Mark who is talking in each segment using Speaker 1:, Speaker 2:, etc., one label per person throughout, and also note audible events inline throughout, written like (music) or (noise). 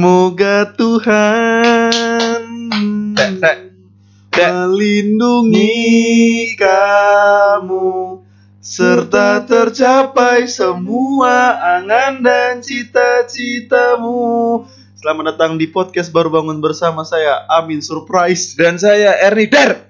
Speaker 1: Semoga Tuhan
Speaker 2: Tek, tek, tek.
Speaker 1: melindungi kamu serta tercapai semua angan dan cita-citamu. Selamat datang di podcast baru bangun bersama saya Amin Surprise.
Speaker 2: Dan saya Erni Dar.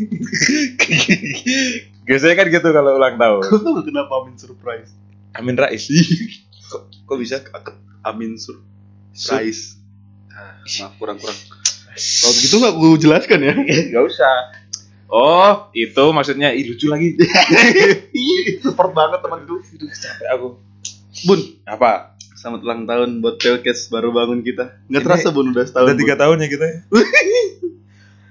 Speaker 2: (laughs) Biasanya kan gitu kalau ulang tahun.
Speaker 1: (laughs) Kenapa Amin Surprise?
Speaker 2: Amin Rais.
Speaker 1: Kok, kok bisa ke- Amin Surprise? Ah, Maaf kurang-kurang. Kalau begitu nggak gue jelaskan ya.
Speaker 2: Gak usah. Oh, itu maksudnya Ih, lucu lagi.
Speaker 1: Super Iya, banget teman gue.
Speaker 2: Capek aku.
Speaker 1: Bun,
Speaker 2: Apa?
Speaker 1: selamat ulang tahun buat Pelkes baru bangun kita. Nggak
Speaker 2: Ini
Speaker 1: terasa bun udah setahun.
Speaker 2: Udah tiga
Speaker 1: Bun.
Speaker 2: tahun ya kita.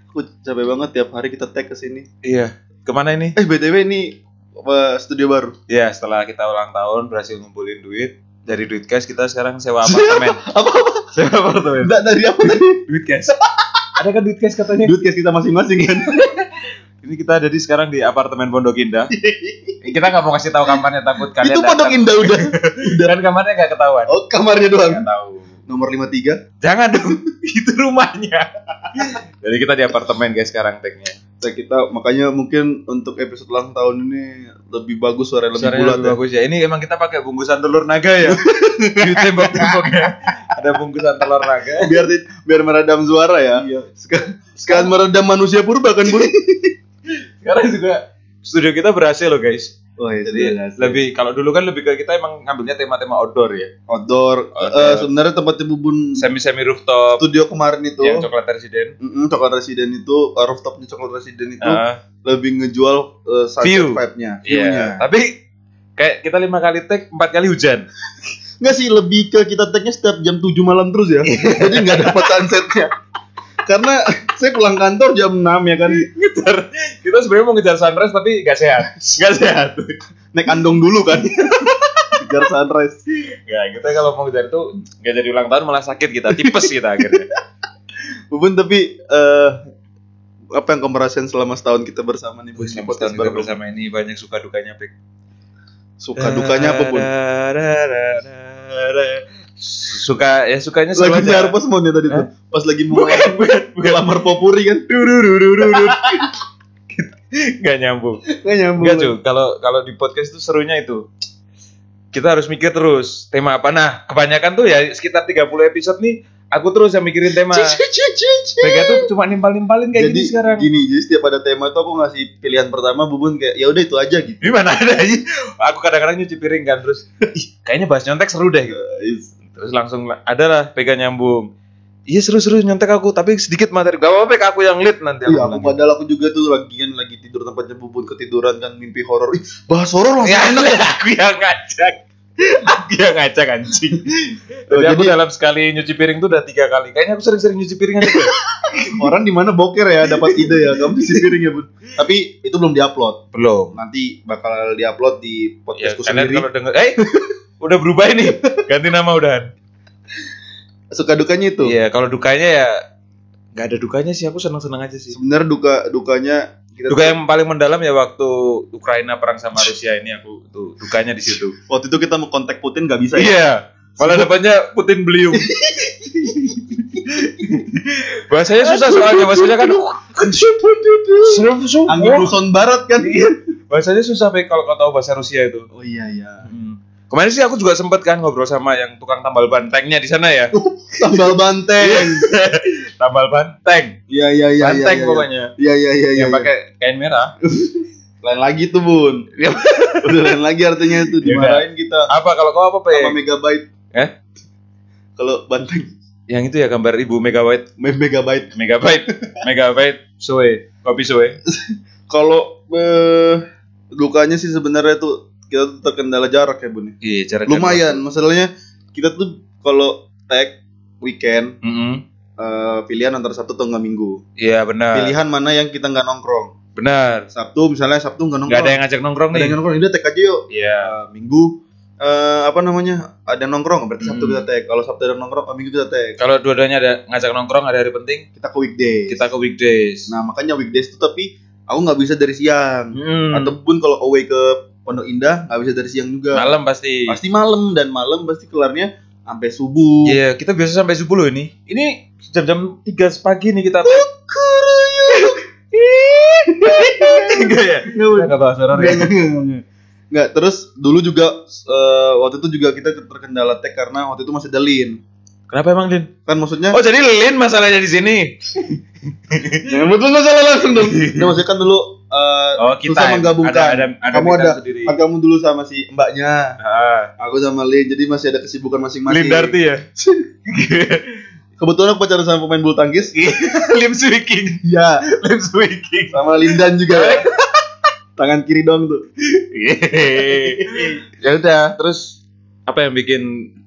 Speaker 1: Aku capek banget tiap hari kita tag ke sini.
Speaker 2: Iya. Kemana ini?
Speaker 1: Eh btw ini apa, studio baru.
Speaker 2: Ya, setelah kita ulang tahun berhasil ngumpulin duit dari duit cash kita sekarang sewa (laughs) apartemen.
Speaker 1: Apa apa?
Speaker 2: sewa apartemen.
Speaker 1: Nggak dari apa tadi?
Speaker 2: duit cash. (laughs) Ada kan duit cash katanya?
Speaker 1: (laughs) Duit cash kita masing-masing (laughs) kan.
Speaker 2: Ini kita jadi sekarang di apartemen Pondok Indah. kita nggak mau kasih tahu kamarnya takut kalian.
Speaker 1: Itu pondok indah udah.
Speaker 2: Dan kamarnya nggak ketahuan.
Speaker 1: (laughs) Oh kamarnya doang.
Speaker 2: Nggak tahu.
Speaker 1: Nomor 53
Speaker 2: Jangan dong. (laughs) Itu rumahnya. jadi kita di apartemen guys sekarang tagnya.
Speaker 1: Nah, kita makanya mungkin untuk episode ulang tahun ini lebih bagus suara lebih
Speaker 2: Suaranya
Speaker 1: bulat
Speaker 2: lebih
Speaker 1: ya. (laughs)
Speaker 2: bagus ya. Ini emang kita pakai bungkusan telur naga
Speaker 1: Iya.
Speaker 2: ya. di tembok-tembok ya. Ada bungkusan telur naga.
Speaker 1: biar biar meredam suara ya. Sekarang, sekarang meredam manusia purba kan bu?
Speaker 2: Sekarang juga studio kita berhasil loh guys.
Speaker 1: (laughs) Oh iya,
Speaker 2: Jadi lebih kalau dulu kan lebih ke kita emang ngambilnya tema-tema outdoor ya.
Speaker 1: outdoor. Eh,
Speaker 2: Outdoor.
Speaker 1: sebenarnya tempatnya bubun
Speaker 2: Semi-semi rooftop
Speaker 1: studio kemarin itu,
Speaker 2: yang coklat resident.
Speaker 1: Mm-mm, coklat residen itu eh, rooftopnya coklat residen itu
Speaker 2: Ah.
Speaker 1: lebih ngejual eh, sunset
Speaker 2: View.
Speaker 1: vibe-nya,
Speaker 2: Iya.
Speaker 1: view-nya.
Speaker 2: Tapi kayak kita lima kali take, empat kali hujan. (laughs)
Speaker 1: Nggak sih lebih ke kita tag-nya setiap jam 7 malam terus
Speaker 2: (laughs)
Speaker 1: ya. Jadi nggak dapat sunsetnya. Karena saya pulang kantor jam 6 ya kan.
Speaker 2: Ngejar. Kita sebenarnya mau ngejar sunrise tapi gak sehat. Gak sehat.
Speaker 1: Naik andong dulu
Speaker 2: (laughs)
Speaker 1: kan. Kejar sunrise.
Speaker 2: Ya, kita kalau mau ngejar itu gak jadi ulang tahun malah sakit kita, tipes kita (laughs) akhirnya.
Speaker 1: Bubun tapi eh apa yang kamu rasain selama setahun kita bersama nih Bu? Ini podcast baru.
Speaker 2: bersama ini banyak suka dukanya Pik.
Speaker 1: Suka dukanya apa
Speaker 2: Eh,
Speaker 1: pun.
Speaker 2: Suka ya sukanya
Speaker 1: Lagi
Speaker 2: sebenarnya- Eh?
Speaker 1: nyar pas mau nih tadi tuh. Pas lagi mau (laughs)
Speaker 2: Bukan, bukan, bukan.
Speaker 1: ngelamar popuri kan.
Speaker 2: Gak nyambung.
Speaker 1: Nggak nyambung.
Speaker 2: Enggak cuy, kalau kalau di podcast itu serunya itu kita harus mikir terus tema apa. Nah, kebanyakan tuh ya sekitar 30 episode nih aku terus yang mikirin tema.
Speaker 1: Cih, cih, cih, cih, cih.
Speaker 2: Mereka tuh cuma nimpal-nimpalin kayak
Speaker 1: jadi
Speaker 2: gini sekarang.
Speaker 1: gini, jadi setiap ada tema tuh aku ngasih pilihan pertama bubun kayak ya udah itu aja gitu.
Speaker 2: Gimana (laughs) ada aja? Aku kadang-kadang nyuci piring kan terus "Ih, kayaknya bahas nyontek seru deh gitu. Terus langsung la- adalah pegang nyambung. Iya seru-seru nyontek aku tapi sedikit materi. Gak apa-apa Pek, aku yang lead nanti
Speaker 1: Iya, aku
Speaker 2: bilang. gitu.
Speaker 1: padahal aku juga tuh lagian lagi tidur tempatnya bubun ketiduran kan mimpi horor. Ih, bahas horor langsung
Speaker 2: (laughs) Ya,
Speaker 1: enak ya.
Speaker 2: aku yang ngajak. Aku yang ngajak anjing. Jadi,
Speaker 1: Oh,
Speaker 2: aku
Speaker 1: jadi-
Speaker 2: dalam sekali nyuci piring tuh udah tiga kali. Kayaknya aku sering-sering nyuci piring aja. Bro.
Speaker 1: Orang di mana boker ya dapat ide ya. Kamu
Speaker 2: (laughs)
Speaker 1: cuci piring ya, Bun. Tapi itu (laughs) belum diupload.
Speaker 2: Belum.
Speaker 1: Nanti bakal diupload di
Speaker 2: Ya,
Speaker 1: podcastku
Speaker 2: kalian
Speaker 1: sendiri.
Speaker 2: kalau denger, eh udah berubah ini. Ganti nama udahan.
Speaker 1: Suka dukanya itu.
Speaker 2: Iya, kalau dukanya ya nggak ada dukanya sih. Aku seneng-seneng aja sih.
Speaker 1: Sebenarnya duka dukanya kita
Speaker 2: Duka yang paling mendalam ya waktu Ukraina perang sama Rusia ini aku tuh dukanya di situ.
Speaker 1: waktu itu kita mau kontak Putin nggak bisa ya.
Speaker 2: Iya. Malah depannya Putin beliung. bahasanya susah soalnya bahasanya kan
Speaker 1: Angin Luzon Barat kan.
Speaker 2: bahasanya susah Pek, kalau kau tahu bahasa Rusia itu.
Speaker 1: Oh iya iya.
Speaker 2: Kemarin sih aku juga sempet kan ngobrol sama yang tukang tambal ban tanknya di sana ya.
Speaker 1: Sambal banteng.
Speaker 2: tambal ban tank,
Speaker 1: Iya iya iya iya.
Speaker 2: banteng
Speaker 1: iya.
Speaker 2: pokoknya.
Speaker 1: Iya iya iya iya.
Speaker 2: yang pakai kain merah.
Speaker 1: lain lagi tuh, Bun.
Speaker 2: Ya.
Speaker 1: Udah lain lagi artinya itu
Speaker 2: Ya udah.
Speaker 1: dimarahin kita.
Speaker 2: Apa kalau kau apa
Speaker 1: sama
Speaker 2: Pek?
Speaker 1: megabyte.
Speaker 2: Eh?
Speaker 1: Kalau banteng
Speaker 2: Yang itu ya gambar ibu megabyte,
Speaker 1: me- megabyte. (laughs)
Speaker 2: megabyte, megabyte, soe, kopi soe.
Speaker 1: Kalau eh, dukanya sih sebenarnya tuh kita tuh terkendala jarak ya bun.
Speaker 2: Iya, jarak
Speaker 1: Lumayan masalahnya kita tuh kalau tag weekend
Speaker 2: Mm -hmm.
Speaker 1: eh, pilihan antara Sabtu atau nggak Minggu.
Speaker 2: Iya benar.
Speaker 1: Pilihan mana yang kita nggak nongkrong?
Speaker 2: Benar.
Speaker 1: Sabtu misalnya Sabtu nggak nongkrong.
Speaker 2: Gak ada yang ngajak nongkrong
Speaker 1: Nggak ada
Speaker 2: nih.
Speaker 1: yang nongkrong. Udah tek aja yuk.
Speaker 2: Iya.
Speaker 1: Eh, minggu eh, apa namanya? Ada yang nongkrong berarti Sabtu
Speaker 2: Hmm.
Speaker 1: kita tag. Kalau Sabtu ada yang nongkrong, eh, Minggu kita tag.
Speaker 2: Kalau dua-duanya ada ngajak nongkrong ada hari penting,
Speaker 1: Kita ke weekday.
Speaker 2: kita ke weekdays.
Speaker 1: Nah, makanya weekdays itu tapi aku nggak bisa dari siang.
Speaker 2: Hmm.
Speaker 1: Ataupun kalau away ke Pondok Indah nggak bisa dari siang juga.
Speaker 2: malam pasti.
Speaker 1: Pasti malam dan malam pasti kelarnya sampai subuh.
Speaker 2: Iya, kita biasa sampai subuh loh ini. Ini jam-jam 3 pagi nih kita. tag.
Speaker 1: Kuruyuk.
Speaker 2: (laughs) Enggak ya?
Speaker 1: Nggak boleh.
Speaker 2: Enggak bahas horor ya.
Speaker 1: Nggak, terus dulu juga eh, waktu itu juga kita terkendala tag karena waktu itu masih ada lin.
Speaker 2: Kenapa emang Din?
Speaker 1: Kan maksudnya
Speaker 2: Oh, jadi Lin masalahnya di
Speaker 1: (laughs)
Speaker 2: sini.
Speaker 1: nyambut lu nggak salah langsung dong. Nah, maksudnya kan dulu eh,
Speaker 2: Oh, kita
Speaker 1: Susah menggabungkan. Kamu
Speaker 2: bidang
Speaker 1: ada-
Speaker 2: sendiri.
Speaker 1: kamu dulu sama si mbaknya,
Speaker 2: (laughs) Ah,
Speaker 1: aku sama Lin, jadi masih ada kesibukan masing-masing.
Speaker 2: Lin Darti ya? (laughs)
Speaker 1: Kebetulan aku pacaran sama pemain bulu tangkis.
Speaker 2: Iya. Lim Swiking. (laughs)
Speaker 1: Iya,
Speaker 2: Lim
Speaker 1: (laughs)
Speaker 2: Swiking.
Speaker 1: sama Lindan
Speaker 2: Iya.
Speaker 1: juga. Tangan kiri dong tuh.
Speaker 2: ya udah, terus apa yang bikin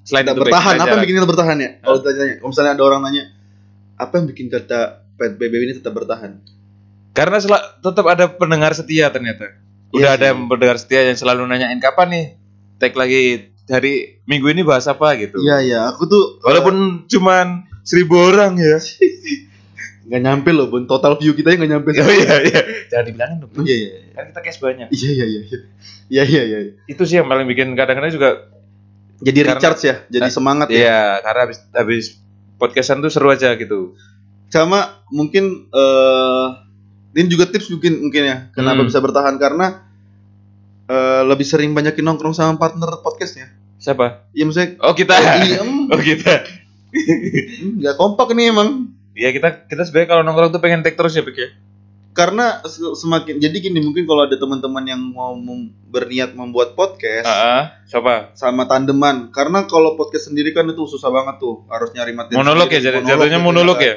Speaker 2: selain
Speaker 1: Kita
Speaker 2: itu baik,
Speaker 1: bertahan,
Speaker 2: selain
Speaker 1: apa yang
Speaker 2: jarak?
Speaker 1: bikin kita bertahan ya? Kalau ditanya, kalau misalnya ada orang nanya, apa yang bikin kata PBB ini tetap bertahan?
Speaker 2: Karena sel- tetap ada pendengar setia ternyata. Udah
Speaker 1: Iya
Speaker 2: ada
Speaker 1: sih.
Speaker 2: yang pendengar setia yang selalu nanyain kapan nih tag lagi hari minggu ini bahas apa gitu.
Speaker 1: Iya, iya, aku tuh
Speaker 2: Walaupun cuman seribu orang
Speaker 1: (laughs)
Speaker 2: ya.
Speaker 1: nggak nyampe loh, Bun. Total view kita nggak nyampe.
Speaker 2: Oh iya iya. Jangan dibilangin dong.
Speaker 1: Iya, iya, iya.
Speaker 2: Kan kita cash banyak.
Speaker 1: Iya, iya, iya. Iya, iya, iya.
Speaker 2: Itu sih yang paling bikin kadang-kadang juga
Speaker 1: Jadi
Speaker 2: Karena-
Speaker 1: recharge ya, jadi semangat ya.
Speaker 2: Iya, karena habis habis podcastan tuh seru aja gitu.
Speaker 1: Sama mungkin eh ini juga tips mungkin mungkin ya, kenapa
Speaker 2: Hmm.
Speaker 1: bisa bertahan karena eh, lebih sering banyakin nongkrong sama partner podcastnya.
Speaker 2: Siapa?
Speaker 1: Iya, maksudnya
Speaker 2: Oh, kita.
Speaker 1: (laughs) diem
Speaker 2: (laughs) Oh, kita.
Speaker 1: Hmm, nggak kompak nih emang
Speaker 2: Iya, kita kita sebenarnya kalau nongkrong tuh pengen take terus ya, Pik ya.
Speaker 1: karena se- semakin jadi gini mungkin kalau ada teman-teman yang mau mem- berniat membuat podcast
Speaker 2: Heeh. Coba.
Speaker 1: sama tandeman karena kalau podcast sendiri kan itu susah banget tuh harus nyari materi
Speaker 2: Monolog ya,
Speaker 1: sendiri,
Speaker 2: jad- jatuhnya
Speaker 1: gitu
Speaker 2: monolog
Speaker 1: kan.
Speaker 2: ya.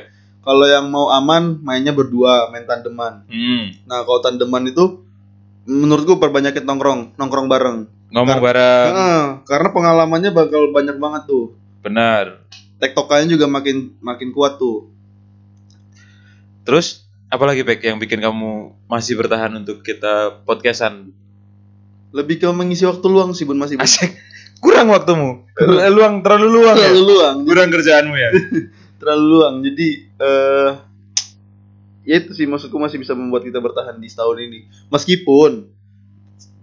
Speaker 1: kalau yang mau aman mainnya berdua main tandeman
Speaker 2: Hmm.
Speaker 1: nah kalau tandeman itu menurutku perbanyakin nongkrong nongkrong bareng
Speaker 2: Ngomong
Speaker 1: Kar-
Speaker 2: bareng,
Speaker 1: Heeh, karena pengalamannya bakal banyak banget tuh
Speaker 2: benar.
Speaker 1: tektokannya juga makin makin kuat tuh
Speaker 2: Terus apalagi Pik yang bikin kamu masih bertahan untuk kita podcastan?
Speaker 1: lebih ke mengisi waktu luang sih bun
Speaker 2: (laughs)
Speaker 1: masih bun.
Speaker 2: Asik. Kurang waktumu. Lu- Luang terlalu luang. ya?
Speaker 1: Terlalu luang
Speaker 2: Kurang kerjaanmu (laughs) ya.
Speaker 1: terlalu luang jadi eh ya itu sih maksudku masih bisa membuat kita bertahan di setahun ini meskipun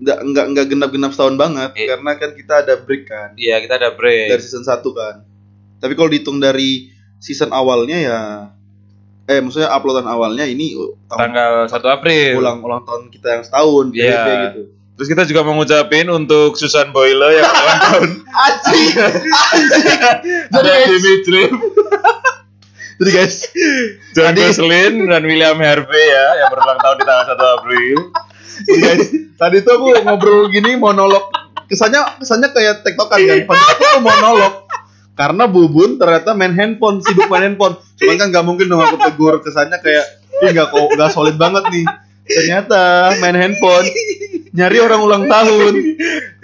Speaker 1: nggak nggak nggak genap-genap setahun banget
Speaker 2: Iya.
Speaker 1: karena kan kita ada break kan
Speaker 2: Iya, kita ada break.
Speaker 1: dari season 1 kan tapi kalau dihitung dari season awalnya ya eh maksudnya uploadan awalnya ini uh, tahun
Speaker 2: Tanggal 1 April.
Speaker 1: ulang ulang tahun kita yang setahun
Speaker 2: Iya.
Speaker 1: PDP gitu
Speaker 2: Terus kita juga mau ngucapin untuk Susan Boyle (laughs) yang ulang tahun.
Speaker 1: Aji,
Speaker 2: (laughs) Jadi
Speaker 1: Jadi-
Speaker 2: Dimitri,
Speaker 1: (laughs) jadi guys
Speaker 2: John
Speaker 1: Tadi-
Speaker 2: Gosling dan William Harvey ya yang berulang tahun di tanggal 1 April.
Speaker 1: guys Iya, tadi tuh aku ngobrol gini monolog kesannya kesannya kayak tektokan kan padahal aku monolog karena bubun ternyata main handphone sibuk main handphone cuman kan nggak mungkin dong aku tegur kesannya kayak ini nggak kok nggak solid banget nih ternyata main handphone nyari orang ulang tahun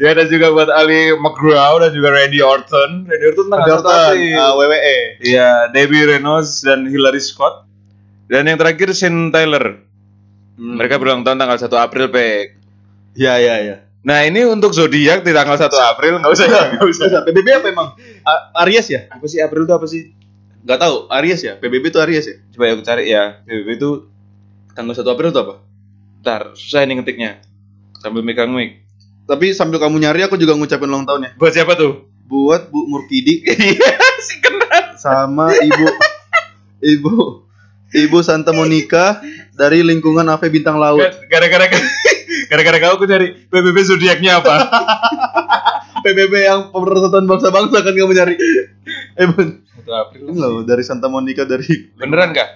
Speaker 2: Ya dan juga buat Ali McGraw dan juga Randy Orton. Randy Orton Ah, tanggal 1
Speaker 1: Anderton
Speaker 2: April.
Speaker 1: uh, WWE
Speaker 2: Iya, Debbie Reynolds dan Hillary Scott. Dan yang terakhir Shane Taylor. Mereka berulang tahun tanggal 1 April, Pek.
Speaker 1: ya ya ya
Speaker 2: Nah, ini untuk zodiak di tanggal 1 April nggak usah ya, nggak usah.
Speaker 1: PBB apa emang A- Aries ya
Speaker 2: (laughs) Apa sih April itu apa sih?
Speaker 1: nggak tahu Aries ya PBB itu Aries ya
Speaker 2: Coba ya aku cari ya. BBB itu
Speaker 1: tanggal 1 April itu apa
Speaker 2: Bentar, susah ini ngetiknya. Sambil megang mic.
Speaker 1: tapi sambil kamu nyari aku juga ngucapin ulang tahun ya
Speaker 2: Buat siapa tuh?
Speaker 1: buat Bu (laughs) Murkidi
Speaker 2: Iya, si kenal.
Speaker 1: sama ibu ibu ibu Santa Monica dari lingkungan AV Bintang Laut.
Speaker 2: Gara-gara (laughs) gara-gara kau aku cari BBB zodiaknya (laughs) apa?
Speaker 1: PBB yang Pemersatuan Bangsa-Bangsa kan kamu nyari. Eh ben,
Speaker 2: Satu April.
Speaker 1: loh dari Santa Monica dari
Speaker 2: Beneran kah?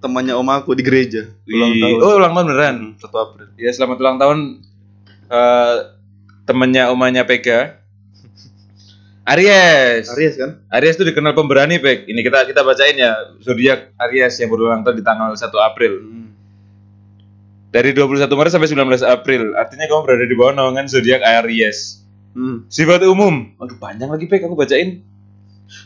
Speaker 1: temannya om aku di gereja ulang
Speaker 2: Wih.
Speaker 1: tahun.
Speaker 2: Oh, ulang tahun beneran.
Speaker 1: Satu April.
Speaker 2: Ya, selamat ulang tahun eh temennya omanya Pega. Aries.
Speaker 1: Aries kan?
Speaker 2: Aries itu dikenal pemberani, Peg. Ini kita kita bacain ya zodiak Aries yang berulang tahun di tanggal 1 April.
Speaker 1: Hmm.
Speaker 2: Dari 21 Maret sampai 19 April. Artinya kamu berada di bawah naungan zodiak Aries.
Speaker 1: Hmm.
Speaker 2: Sifat umum. Aduh panjang lagi Pek, aku bacain.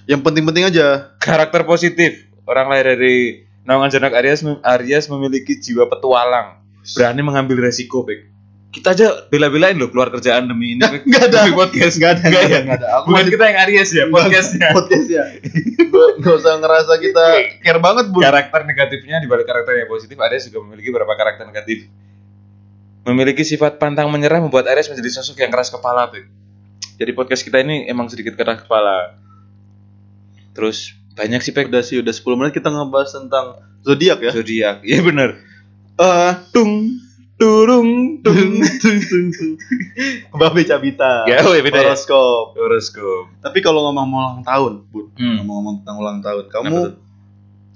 Speaker 1: Yang penting-penting aja.
Speaker 2: Karakter positif. Orang lahir dari naungan Janak Aries mem- Aries memiliki jiwa petualang, berani mengambil resiko, Bek. Kita aja bela-belain loh keluar kerjaan demi ini, Bek.
Speaker 1: Enggak ada.
Speaker 2: Demi podcast.
Speaker 1: Enggak ada.
Speaker 2: Nggak
Speaker 1: Enggak ada.
Speaker 2: ya?
Speaker 1: Enggak ada. Aku
Speaker 2: Bukan kita yang Aries ya, podcastnya.
Speaker 1: podcast (laughs) ya. Gak usah ngerasa kita care banget, Bu.
Speaker 2: karakter negatifnya di balik karakter yang positif Aries juga memiliki beberapa karakter negatif memiliki sifat pantang menyerah membuat Aries menjadi sosok yang keras kepala Beb. jadi podcast kita ini emang sedikit keras kepala terus banyak sih pek
Speaker 1: Udah sih, udah 10 menit kita ngebahas tentang zodiak ya.
Speaker 2: zodiak iya bener
Speaker 1: Eh,
Speaker 2: tung turung
Speaker 1: tung
Speaker 2: tung
Speaker 1: tung tung tung. Babe Cabita.
Speaker 2: (laughs) ya oh, ya beda ya.
Speaker 1: Horoskop.
Speaker 2: horoskop
Speaker 1: Tapi kalau ngomong ulang tahun, Bun,
Speaker 2: hmm.
Speaker 1: ngomong tentang ulang tahun,
Speaker 2: Kenapa
Speaker 1: kamu
Speaker 2: tuh?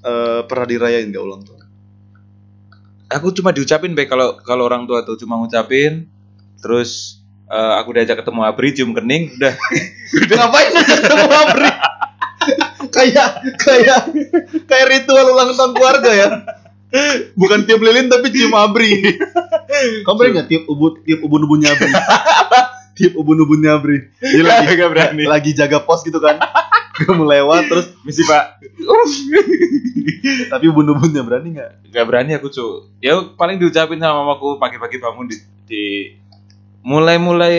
Speaker 1: eh, pernah dirayain gak ulang tahun?
Speaker 2: aku cuma diucapin baik kalau kalau orang tua tuh cuma ngucapin terus eh, aku diajak ketemu Abri cium kening udah
Speaker 1: (laughs)
Speaker 2: (laughs)
Speaker 1: Ngapain ngajak ketemu Abri? kayak kayak kayak ritual ulang tahun keluarga ya. Bukan tiup lilin tapi cium Abri. Kamu pernah nggak tiup ubun tiup ubun-ubunnya Abri? (laughs) tiup ubun-ubunnya Abri. Dia lagi
Speaker 2: gak Iya, berani
Speaker 1: lagi jaga pos gitu kan. Kamu lewat terus
Speaker 2: misi pak
Speaker 1: tapi ubun-ubunnya berani nggak?
Speaker 2: nggak berani aku cu ya paling diucapin sama mamaku pagi-pagi bangun di, di mulai mulai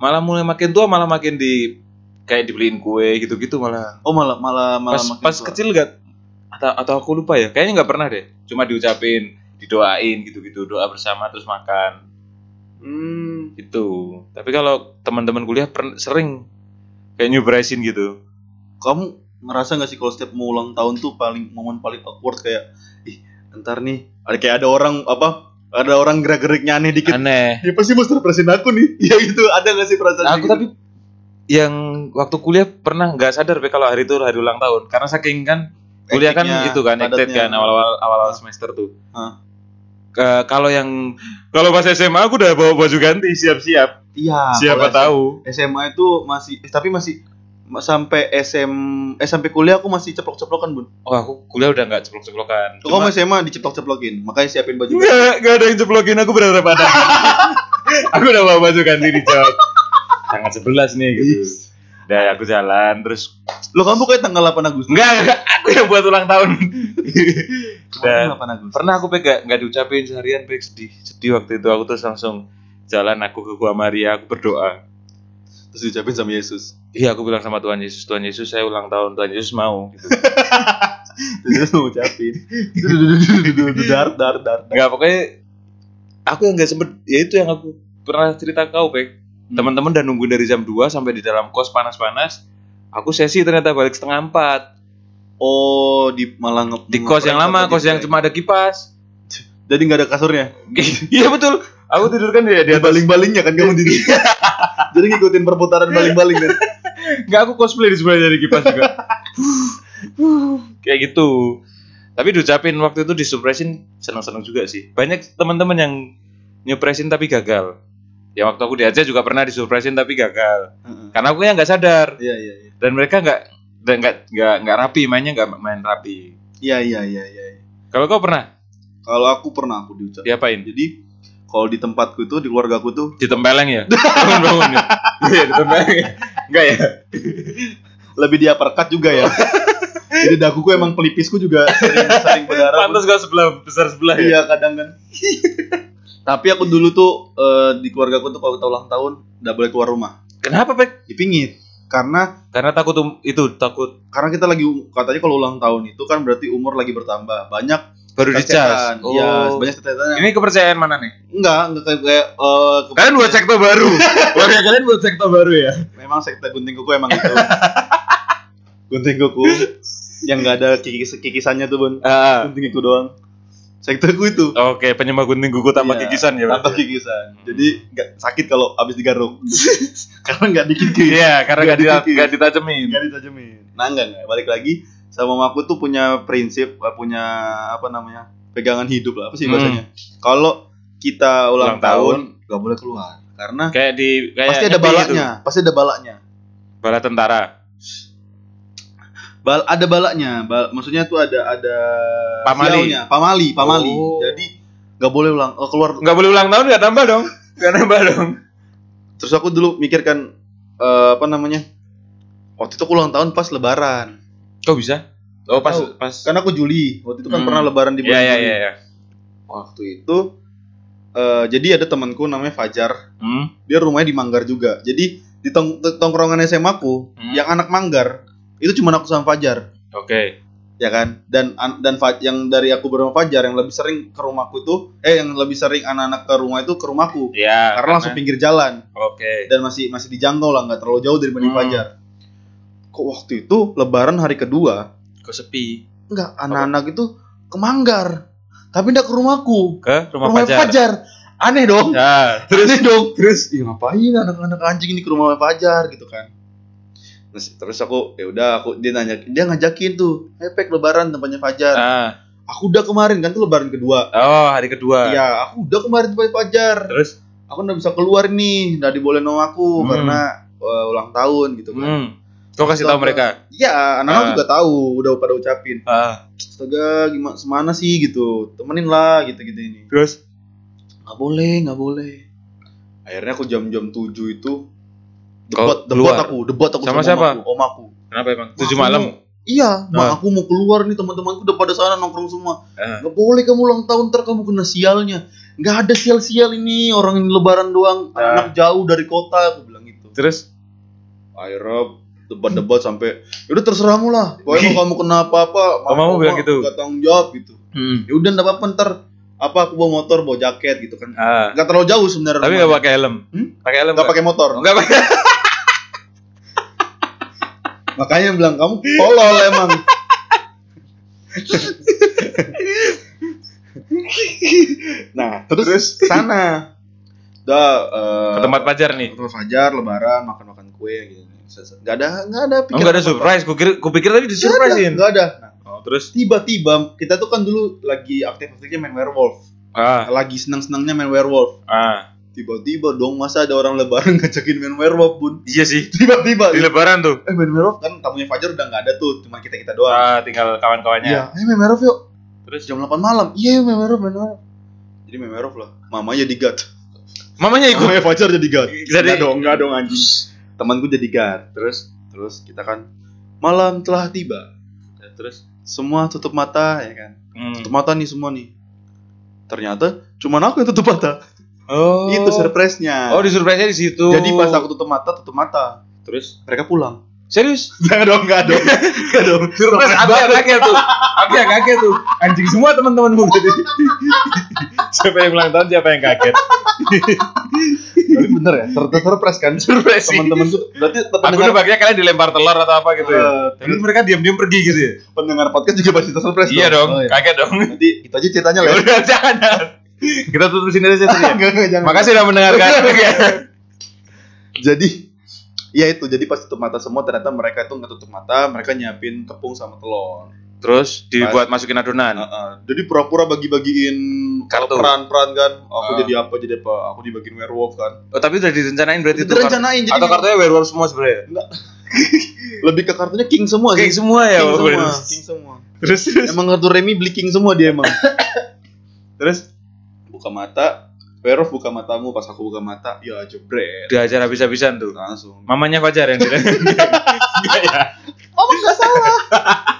Speaker 2: malah mulai makin tua malah makin di kayak dibeliin kue gitu-gitu malah
Speaker 1: Oh malah malah malah
Speaker 2: pas
Speaker 1: makin
Speaker 2: pas
Speaker 1: tua.
Speaker 2: kecil gak atau atau aku lupa ya kayaknya nggak pernah deh cuma diucapin didoain gitu-gitu doa bersama terus makan
Speaker 1: Hmm.
Speaker 2: gitu tapi kalau teman-teman kuliah pern- sering kayak nyubraisin gitu
Speaker 1: Kamu ngerasa nggak sih kalau setiap mau ulang tahun tuh paling momen paling awkward kayak ih ntar nih ada kayak ada orang apa ada orang gerak-geriknya aneh dikit
Speaker 2: aneh
Speaker 1: dia pasti mesti represin aku nih (laughs) ya gitu ada gak sih perasaan
Speaker 2: Nah, aku tapi yang waktu kuliah pernah nggak sadar Be, kalau hari itu hari ulang tahun karena saking kan kuliah kan
Speaker 1: Hektiknya,
Speaker 2: itu kan
Speaker 1: gitu?
Speaker 2: hektik
Speaker 1: padatnya.
Speaker 2: kan awal-awal
Speaker 1: Hah.
Speaker 2: awal-awal semester tuh
Speaker 1: Hah.
Speaker 2: Ke- kalau yang kalau pas SMA aku udah bawa baju ganti siap-siap
Speaker 1: iya
Speaker 2: siapa
Speaker 1: kalau
Speaker 2: tahu
Speaker 1: SMA itu masih eh, tapi masih ma- sampai SM eh sampai kuliah aku masih ceplok-ceplokan bun
Speaker 2: oh aku kuliah udah nggak ceplok-ceplokan
Speaker 1: Tuh, kamu
Speaker 2: Cuma-
Speaker 1: SMA diceplok-ceplokin makanya siapin baju
Speaker 2: nggak nggak ada yang ceplokin aku berharap ada aku udah bawa baju ganti di jok tanggal 11 nih gitu udah aku jalan terus
Speaker 1: lo kamu kayak tanggal 8 Agustus
Speaker 2: nggak nggak, aku yang buat ulang tahun
Speaker 1: (laughs)
Speaker 2: Dan-
Speaker 1: Kamu 8 Agustus
Speaker 2: pernah aku pega nggak diucapin seharian pek sedih sedih waktu itu aku terus langsung jalan aku ke gua Maria aku berdoa
Speaker 1: terus diucapin sama Yesus
Speaker 2: iya aku bilang sama Tuhan Yesus Tuhan Yesus saya ulang tahun Tuhan Yesus mau gitu
Speaker 1: terus mau
Speaker 2: (laughs)
Speaker 1: ucapin dar dar dar dar.
Speaker 2: nggak pokoknya aku yang nggak sempet ya itu yang aku pernah cerita ke kau pek teman-teman udah nunggu dari jam 2 sampai di dalam kos panas-panas aku sesi ternyata balik setengah empat
Speaker 1: oh di malah nge-
Speaker 2: di kos yang lama kos yang cuma ada kipas (laughs)
Speaker 1: jadi nggak ada kasurnya
Speaker 2: iya betul aku tidur kan di, di
Speaker 1: dia
Speaker 2: atas Iya.
Speaker 1: baling-balingnya kan kamu jadi (laughs) jadi ngikutin perputaran baling-baling kan? dan
Speaker 2: (laughs) Enggak aku cosplay di sebelah dari kipas juga. Kayak gitu. Tapi diucapin waktu itu disupresin seneng-seneng juga sih. Banyak teman-teman yang nyupresin tapi gagal. Ya waktu aku di Aceh juga pernah disupresin tapi gagal. Karena aku yang nggak sadar
Speaker 1: iya iya iya.
Speaker 2: dan mereka nggak dan nggak nggak nggak rapi mainnya nggak main rapi.
Speaker 1: Iya iya iya iya.
Speaker 2: Kalau kau pernah
Speaker 1: Kalau aku pernah aku diucap.
Speaker 2: diapain?
Speaker 1: Jadi kalau di tempatku itu di keluarga aku tuh
Speaker 2: Ditempeleng (laughs) ya? Bangun-bangun ya? Iya ditempeleng. ya? Enggak ya?
Speaker 1: (laughs) lebih di uppercut juga
Speaker 2: (laughs)
Speaker 1: ya. Jadi daguku emang pelipisku juga sering, sering berdarah.
Speaker 2: Pantas kau sebelah besar sebelah ya?
Speaker 1: Iya kadang kan. (laughs) Tapi aku dulu tuh eh, di keluarga aku tuh kalau kita ulang tahun nggak boleh keluar rumah.
Speaker 2: Kenapa Pek?
Speaker 1: Dipingit karena
Speaker 2: Karena takut um- itu takut
Speaker 1: karena kita lagi katanya kalau ulang tahun itu kan berarti umur lagi bertambah banyak
Speaker 2: baru Oh.
Speaker 1: cacetan.
Speaker 2: dicas.
Speaker 1: Iya, banyak cacetan.
Speaker 2: kan? Ini kepercayaan mana nih?
Speaker 1: Enggak, enggak kayak, kayak eh, ke-
Speaker 2: Kalian buat sektor baru. (laughs) Warga kalian buat sektor baru ya.
Speaker 1: memang sekte gunting kuku emang itu. gunting kuku yang enggak ada kikis kikisannya tuh, Bun. Gunting kuku doang. Sekte ku itu
Speaker 2: Ah, Oke, penyembah gunting kuku tanpa
Speaker 1: Iya,
Speaker 2: kikisan ya.
Speaker 1: tanpa
Speaker 2: berarti?
Speaker 1: kikisan. Jadi enggak sakit kalau habis
Speaker 2: (laughs)
Speaker 1: digaruk. Karena enggak dikikis.
Speaker 2: Iya, karena
Speaker 1: Nggak
Speaker 2: gak, di,
Speaker 1: dikikis.
Speaker 2: gak ditajemin.
Speaker 1: Enggak ditajemin. Nah, enggak, enggak. Balik lagi sama mamaku tuh punya prinsip, eh, punya apa namanya? pegangan hidup lah apa sih
Speaker 2: Hmm.
Speaker 1: bahasanya. Kalau kita ulang,
Speaker 2: Ulang
Speaker 1: tahun
Speaker 2: tahun.
Speaker 1: nggak boleh keluar karena
Speaker 2: Kayak di kayak
Speaker 1: pasti ada
Speaker 2: nyepi
Speaker 1: balaknya, pasti ada balaknya.
Speaker 2: gitu. Bala tentara.
Speaker 1: Bal ada balaknya, bal- maksudnya tuh ada ada
Speaker 2: Pamali.
Speaker 1: sialnya. pamali, pamali.
Speaker 2: Oh.
Speaker 1: Jadi nggak boleh ulang eh, keluar.
Speaker 2: Gak boleh ulang tahun gak tambah dong. Gak nambah dong.
Speaker 1: Terus aku dulu mikirkan eh, apa kan, namanya? waktu itu aku ulang tahun pas lebaran
Speaker 2: Kok bisa? Oh pas
Speaker 1: Tahu.
Speaker 2: pas.
Speaker 1: karena aku Juli waktu itu kan
Speaker 2: Hmm.
Speaker 1: pernah lebaran di
Speaker 2: Iya
Speaker 1: bulan
Speaker 2: iya
Speaker 1: Juli.
Speaker 2: iya. Ya.
Speaker 1: waktu itu eh, jadi ada temanku namanya Fajar
Speaker 2: Hmm.
Speaker 1: dia rumahnya di Manggar juga jadi di tong- tongkrongan SMA aku
Speaker 2: Hmm.
Speaker 1: yang anak Manggar itu cuma aku sama Fajar
Speaker 2: Oke.
Speaker 1: ya kan dan an- dan Fa- yang dari aku bernama Fajar yang lebih sering ke rumahku itu eh yang lebih sering anak-anak ke rumah itu ke rumahku
Speaker 2: Iya.
Speaker 1: karena langsung pinggir jalan
Speaker 2: Oke.
Speaker 1: dan masih masih dijangkau lah nggak terlalu jauh dari Bani
Speaker 2: Hmm.
Speaker 1: Fajar. Kok waktu itu Lebaran hari kedua
Speaker 2: Kok sepi?
Speaker 1: nggak anak-anak itu ke Manggar tapi nggak ke rumahku
Speaker 2: Ke
Speaker 1: rumah,
Speaker 2: rumah, pacar.
Speaker 1: Fajar aneh dong
Speaker 2: Ya.
Speaker 1: aneh dong terus ya ngapain anak-anak anjing ini ke rumah Fajar gitu kan terus terus aku ya udah aku dia nanya dia ngajakin tuh efek Lebaran tempatnya Fajar
Speaker 2: Ah.
Speaker 1: aku udah kemarin kan tuh Lebaran kedua
Speaker 2: Oh hari kedua.
Speaker 1: Iya, aku udah kemarin tempatnya Fajar
Speaker 2: Terus?
Speaker 1: aku nggak bisa keluar nih nggak dibolehin sama aku
Speaker 2: Hmm.
Speaker 1: karena eh, ulang tahun gitu kan
Speaker 2: Hmm. Kau kasih tahu mereka?
Speaker 1: Iya, anak-anak
Speaker 2: Ah.
Speaker 1: juga tahu, udah pada ucapin.
Speaker 2: Ah.
Speaker 1: Astaga, gimana semana sih gitu. Temenin lah gitu-gitu ini.
Speaker 2: Terus?
Speaker 1: Nggak boleh, nggak boleh. Akhirnya aku jam-jam 7 itu
Speaker 2: Kau
Speaker 1: debot, debot
Speaker 2: Oh, keluar?
Speaker 1: aku, debot aku sama,
Speaker 2: Sama siapa?
Speaker 1: Om aku, om aku.
Speaker 2: Kenapa emang?
Speaker 1: Wah,
Speaker 2: Tujuh
Speaker 1: aku
Speaker 2: malam.
Speaker 1: mau- Iya, mak
Speaker 2: Ah.
Speaker 1: aku mau keluar nih teman-temanku udah pada sana nongkrong semua.
Speaker 2: Ah.
Speaker 1: Nggak boleh kamu ulang tahun ntar kamu kena sialnya. Nggak ada sial-sial ini orang ini lebaran doang.
Speaker 2: Ah.
Speaker 1: Anak jauh dari kota, aku bilang gitu.
Speaker 2: Terus?
Speaker 1: akhirnya debat-debat sampai "Ya udah terserahmu lah pokoknya kalau kamu
Speaker 2: (laughs)
Speaker 1: kena apa-apa
Speaker 2: Mamamu
Speaker 1: mama
Speaker 2: bilang gitu.
Speaker 1: gak tanggung jawab gitu
Speaker 2: Hmm.
Speaker 1: ya udah nggak apa-apa ntar apa aku bawa motor bawa jaket gitu kan
Speaker 2: Ah.
Speaker 1: nggak terlalu jauh sebenarnya
Speaker 2: Tapi nggak
Speaker 1: rumahnya.
Speaker 2: pakai helm.
Speaker 1: Hmm?
Speaker 2: Pakai helm.
Speaker 1: nggak pakai Eh. motor
Speaker 2: Enggak pakai.
Speaker 1: makanya yang bilang kamu tolol
Speaker 2: (laughs)
Speaker 1: emang nah terus, ke sana udah eh,
Speaker 2: Ke tempat pacar nih.
Speaker 1: ketemu Fajar lebaran makan makan kue gitu nggak ada nggak ada
Speaker 2: Oh, enggak ada surprise. Kupikir kupikir tadi di surprisein.
Speaker 1: nggak ada Nah,
Speaker 2: Oh, terus?
Speaker 1: tiba-tiba kita tuh kan dulu lagi aktif-aktifnya main werewolf
Speaker 2: Ah.
Speaker 1: lagi senang-senangnya main werewolf
Speaker 2: Ah.
Speaker 1: tiba-tiba dong masa ada orang lebaran (laughs) ngajakin main werewolf bun
Speaker 2: Iya sih.
Speaker 1: tiba-tiba
Speaker 2: Di lebaran tuh.
Speaker 1: eh main werewolf kan tamunya Fajar udah nggak ada tuh cuma kita kita doang
Speaker 2: Ah, tinggal kawan-kawannya.
Speaker 1: iya eh main werewolf yuk
Speaker 2: Terus
Speaker 1: jam 8 malam iya yuk main werewolf main werewolf jadi main werewolf lah mamanya jadi gat
Speaker 2: mamanya ikut.
Speaker 1: (laughs) mamanya Fajar jadi gat
Speaker 2: Jadi-
Speaker 1: nggak dong nggak dong anjing temanku jadi gat
Speaker 2: Terus
Speaker 1: terus kita kan malam telah tiba
Speaker 2: terus
Speaker 1: semua tutup mata ya kan
Speaker 2: Hmm.
Speaker 1: tutup mata nih semua nih ternyata cuman aku yang tutup mata
Speaker 2: Oh.
Speaker 1: Itu surprise-nya.
Speaker 2: Oh, di surprise-nya di situ.
Speaker 1: Jadi pas aku tutup mata, tutup mata.
Speaker 2: terus
Speaker 1: Mereka (laughs) pulang.
Speaker 2: serius.
Speaker 1: Enggak dong, enggak
Speaker 2: (laughs)
Speaker 1: dong. Enggak dong.
Speaker 2: Surprise aku yang kaget tuh. Aku yang kaget tuh. Anjing semua (laughs) teman-temanmu tadi. siapa yang ulang tahun, siapa yang (laughs) kaget.
Speaker 1: Tapi bener ya, ter ter- surprise kan.
Speaker 2: Surprise sih.
Speaker 1: Teman-teman tuh berarti
Speaker 2: Aku
Speaker 1: pendengar
Speaker 2: udah bagian kalian dilempar telur atau apa gitu ya.
Speaker 1: eh,
Speaker 2: Terus mereka diam-diam pergi gitu ya.
Speaker 1: pendengar podcast juga pasti surprise.
Speaker 2: Iya dong,
Speaker 1: Oh, iya.
Speaker 2: kaget (laughs) dong.
Speaker 1: Nanti kita aja ceritanya
Speaker 2: Ya
Speaker 1: lah.
Speaker 2: udah jangan. jangan. Kita tutup sini aja Iya.
Speaker 1: ya.
Speaker 2: sini.
Speaker 1: (laughs) Enggak, enggak, jangan.
Speaker 2: Makasih udah (laughs) mendengarkan.
Speaker 1: Jadi ya itu jadi pas tutup mata semua ternyata mereka itu nggak tutup mata mereka nyiapin tepung sama telur
Speaker 2: Terus dibuat masukin adonan.
Speaker 1: Heeh. jadi pura-pura bagi-bagiin
Speaker 2: Kartu.
Speaker 1: peran-peran kan aku
Speaker 2: Ah.
Speaker 1: jadi apa jadi apa aku dibagiin werewolf kan
Speaker 2: Oh, tapi udah direncanain berarti tuh. Kar-
Speaker 1: direncanain jadi
Speaker 2: Atau kartunya werewolf semua sebenarnya.
Speaker 1: lebih ke kartunya king semua sih
Speaker 2: Kayak semua ya.
Speaker 1: King semua,
Speaker 2: Werewolf.
Speaker 1: King semua.
Speaker 2: Terus terus.
Speaker 1: Emang kartu Remi beli king semua dia emang.
Speaker 2: Terus
Speaker 1: (laughs) buka mata, Werewolf buka matamu pas aku buka mata, ya jebret.
Speaker 2: diajar habis-habisan tuh.
Speaker 1: Langsung.
Speaker 2: Mamanya Fajar yang bilang.
Speaker 1: (laughs)
Speaker 2: Enggak ya.
Speaker 1: Oh, enggak salah. (laughs)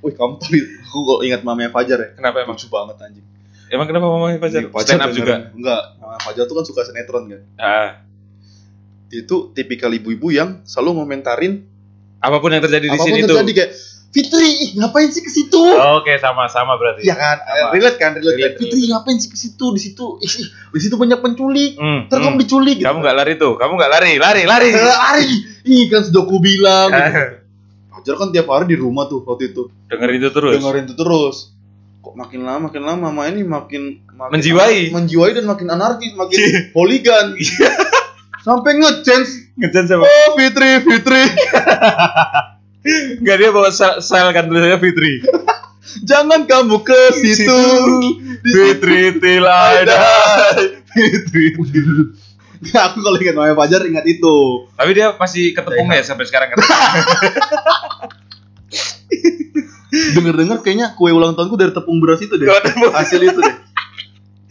Speaker 1: Wih, kamu tadi aku kok ingat mamanya Fajar ya.
Speaker 2: Kenapa emang?
Speaker 1: Lucu banget anjing.
Speaker 2: Emang kenapa mamanya Fajar?
Speaker 1: Iya,
Speaker 2: Stand up
Speaker 1: beneran.
Speaker 2: juga.
Speaker 1: Enggak, mamanya Fajar tuh kan suka sinetron kan.
Speaker 2: Ah,
Speaker 1: Dia tuh tipikal ibu-ibu yang selalu ngomentarin
Speaker 2: apapun yang terjadi di
Speaker 1: apapun
Speaker 2: sini
Speaker 1: terjadi
Speaker 2: tuh.
Speaker 1: kayak Fitri, ih, ngapain sih ke situ?
Speaker 2: Oke, sama-sama berarti.
Speaker 1: Iya kan? Eh,
Speaker 2: Sama.
Speaker 1: Relate kan, relate,
Speaker 2: Relate,
Speaker 1: kan. Fitri, ngapain sih ke situ? Di situ, ih, ih, di situ banyak penculik.
Speaker 2: Hmm,
Speaker 1: Ntar kamu
Speaker 2: hmm.
Speaker 1: diculik gitu.
Speaker 2: Kamu nggak lari tuh. Kamu nggak lari. Lari,
Speaker 1: (laughs)
Speaker 2: lari.
Speaker 1: Eh, Ari, ih kan sudah aku bilang.
Speaker 2: Ah,
Speaker 1: Fajar kan tiap hari di rumah tuh waktu itu.
Speaker 2: (laughs) Dengerin itu terus.
Speaker 1: Dengerin itu terus. Kok makin lama makin lama mama ini makin, makin
Speaker 2: Menjiwai. Iya.
Speaker 1: menjiwai dan makin anarkis, makin poligan. Sampai nge-change.
Speaker 2: Ngejan sama.
Speaker 1: Oh, Fitri, Fitri.
Speaker 2: Enggak dia bawa sel, sel kan tulisannya Fitri.
Speaker 1: Jangan kamu ke situ.
Speaker 2: Fitri Tilaida. Fitri.
Speaker 1: (laughs) aku kalau ingat namanya Fajar ingat itu.
Speaker 2: Tapi dia masih ketepung ya sampai sekarang kan.
Speaker 1: Dengar-dengar kayaknya kue ulang tahunku dari tepung beras itu deh. Hasil itu deh.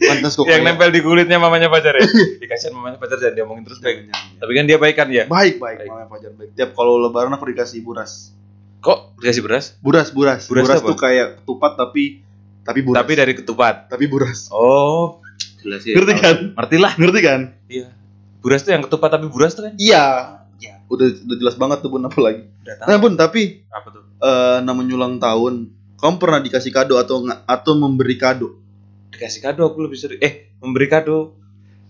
Speaker 1: Pantas kok kayak-
Speaker 2: yang nempel di kulitnya mamanya pacar ya
Speaker 1: Iya.
Speaker 2: dikasih mamanya pacar dan diomongin terus baik tapi kan dia baik kan ya
Speaker 1: baik baik
Speaker 2: Baik.
Speaker 1: malah Fajar baik. Tiap kalau lebaran aku dikasih buras.
Speaker 2: kok dikasih beras
Speaker 1: Buras buras.
Speaker 2: Buras
Speaker 1: Buras,
Speaker 2: apa?
Speaker 1: tuh kayak ketupat tapi tapi buras.
Speaker 2: tapi dari ketupat
Speaker 1: Tapi buras.
Speaker 2: oh jelas ya
Speaker 1: Ngerti kan?
Speaker 2: ngerti lah
Speaker 1: Ngerti kan?
Speaker 2: iya buras tuh yang ketupat tapi buras tuh kan
Speaker 1: Iya. Udah udah jelas banget tuh Bun apa lagi.
Speaker 2: udah tahu
Speaker 1: Nah, Bun, tapi
Speaker 2: apa tuh
Speaker 1: eh namanya ulang tahun, kamu pernah dikasih kado atau nggak atau memberi kado?
Speaker 2: dikasih kado aku lebih sering eh memberi kado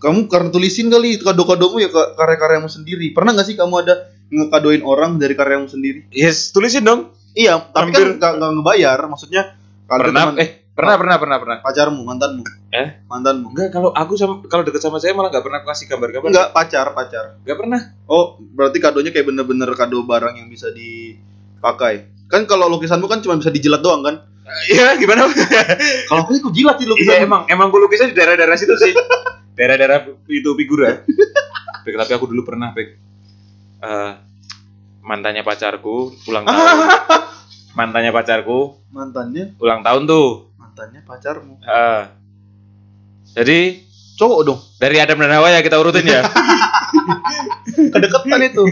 Speaker 1: Kamu karena tulisin kali kado-kadomu ya ke karya-karyamu sendiri. Pernah nggak sih kamu ada ngekadoin orang dari karyamu sendiri?
Speaker 2: yes tulisin dong
Speaker 1: Iya, tapi kan
Speaker 2: Hampir.
Speaker 1: nggak nggak ngebayar, maksudnya kado
Speaker 2: pernah
Speaker 1: teman-
Speaker 2: eh pernah pernah pernah pernah
Speaker 1: pacarmu, mantanmu.
Speaker 2: Eh?
Speaker 1: Mantanmu.
Speaker 2: enggak kalau aku sama kalau deket sama saya malah nggak pernah aku kasih gambar-gambar
Speaker 1: Enggak, pacar, pacar.
Speaker 2: enggak pernah
Speaker 1: Oh, berarti kadonya kayak bener-bener kado barang yang bisa dipakai. Kan kalau lukisanmu kan cuma bisa dijilat doang kan?
Speaker 2: iya gimana
Speaker 1: Kalau aku sih aku jilat sih
Speaker 2: (laughs) Iya
Speaker 1: lukisan.
Speaker 2: emang emang gue lukisnya di daerah-daerah situ sih. daerah-daerah itu figura. Pek, tapi aku dulu pernah pek eh, mantannya pacarku ulang tahun. mantannya pacarku
Speaker 1: Mantannya,
Speaker 2: ulang tahun tuh.
Speaker 1: mantannya pacarmu.
Speaker 2: Eh, jadi
Speaker 1: Cowok dong. (laughs)
Speaker 2: dari Adam dan Hawa ya kita urutin ya.
Speaker 1: Kedeketan itu.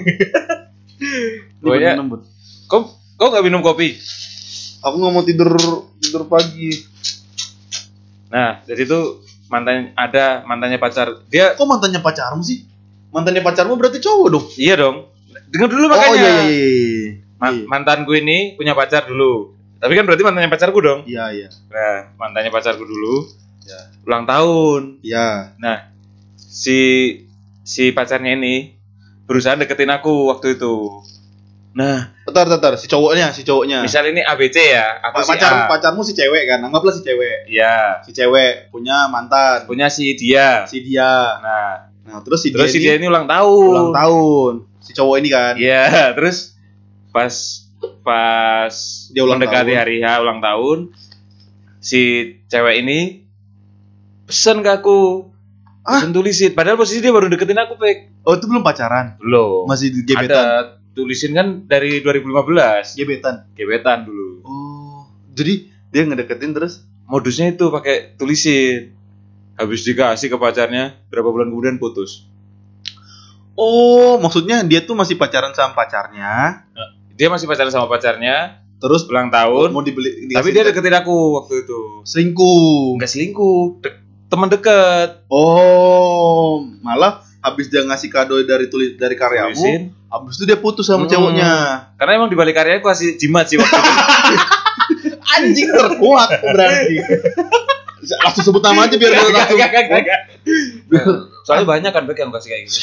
Speaker 2: Pokoknya-
Speaker 1: Ini bener-bener, Bud.
Speaker 2: kok kok nggak minum kopi?
Speaker 1: aku nggak mau tidur tidur pagi.
Speaker 2: Nah jadi tuh mantan ada mantannya pacar dia
Speaker 1: Kok mantannya pacarmu sih? Mantannya pacarmu berarti cowok dong.
Speaker 2: iya dong. Dengar dulu makanya.
Speaker 1: Oh iya iya iya.
Speaker 2: Ma-
Speaker 1: Iya.
Speaker 2: mantanku ini punya pacar dulu. Tapi kan berarti mantannya pacarku dong.
Speaker 1: Iya iya.
Speaker 2: Nah, mantannya pacarku dulu
Speaker 1: Ya.
Speaker 2: ulang tahun. Nah,
Speaker 1: Iya.
Speaker 2: Si si pacarnya ini berusaha deketin aku waktu itu. Nah,
Speaker 1: Bentar, bentar, bentar, si cowoknya, si cowoknya.
Speaker 2: misal ini ABC ya, aku
Speaker 1: Pa-
Speaker 2: si
Speaker 1: pacar
Speaker 2: A.
Speaker 1: pacarmu si cewek kan, anggaplah si cewek.
Speaker 2: Iya,
Speaker 1: Si cewek punya mantan,
Speaker 2: punya si dia.
Speaker 1: si dia.
Speaker 2: Nah,
Speaker 1: Nah, terus si
Speaker 2: terus si
Speaker 1: dia ini
Speaker 2: dia ini ulang tahun.
Speaker 1: ulang tahun. Si cowok ini kan.
Speaker 2: Iya, terus pas pas
Speaker 1: Dia ulang
Speaker 2: mendekati
Speaker 1: tahun.
Speaker 2: hari H ulang tahun si cewek ini pesen ke aku.
Speaker 1: Ah?
Speaker 2: Pesen tulisin. Padahal posisi dia baru deketin aku, Pek.
Speaker 1: Oh, itu belum pacaran.
Speaker 2: Belum.
Speaker 1: Masih di
Speaker 2: ada
Speaker 1: gebetan. Iya.
Speaker 2: tulisin kan dari 2015
Speaker 1: Gebetan.
Speaker 2: gebetan dulu
Speaker 1: Oh, jadi dia ngedeketin terus
Speaker 2: modusnya itu pakai tulisin habis dikasih ke pacarnya berapa bulan kemudian putus
Speaker 1: Oh, maksudnya dia tuh masih pacaran sama pacarnya,
Speaker 2: dia masih pacaran sama pacarnya
Speaker 1: terus
Speaker 2: ulang tahun
Speaker 1: mau dibeli dikasih
Speaker 2: tapi dia
Speaker 1: deket-
Speaker 2: deketin aku waktu itu
Speaker 1: selingkuh.
Speaker 2: nggak selingkuh de- teman deket
Speaker 1: Oh, malah habis dia ngasih kado dari tulis dari karyamu,
Speaker 2: Tulisin.
Speaker 1: habis itu dia putus sama
Speaker 2: Hmm.
Speaker 1: cowoknya.
Speaker 2: karena emang dibalik karyanya aku kasih jimat sih waktu (laughs) itu
Speaker 1: Anjing terkuat (laughs) berarti. Langsung sebut nama aja biar dia
Speaker 2: Nggak,
Speaker 1: langsung.
Speaker 2: nggak, nggak, nggak, (laughs) nggak. soalnya banyak kan Bek yang kasih kayak (laughs) gitu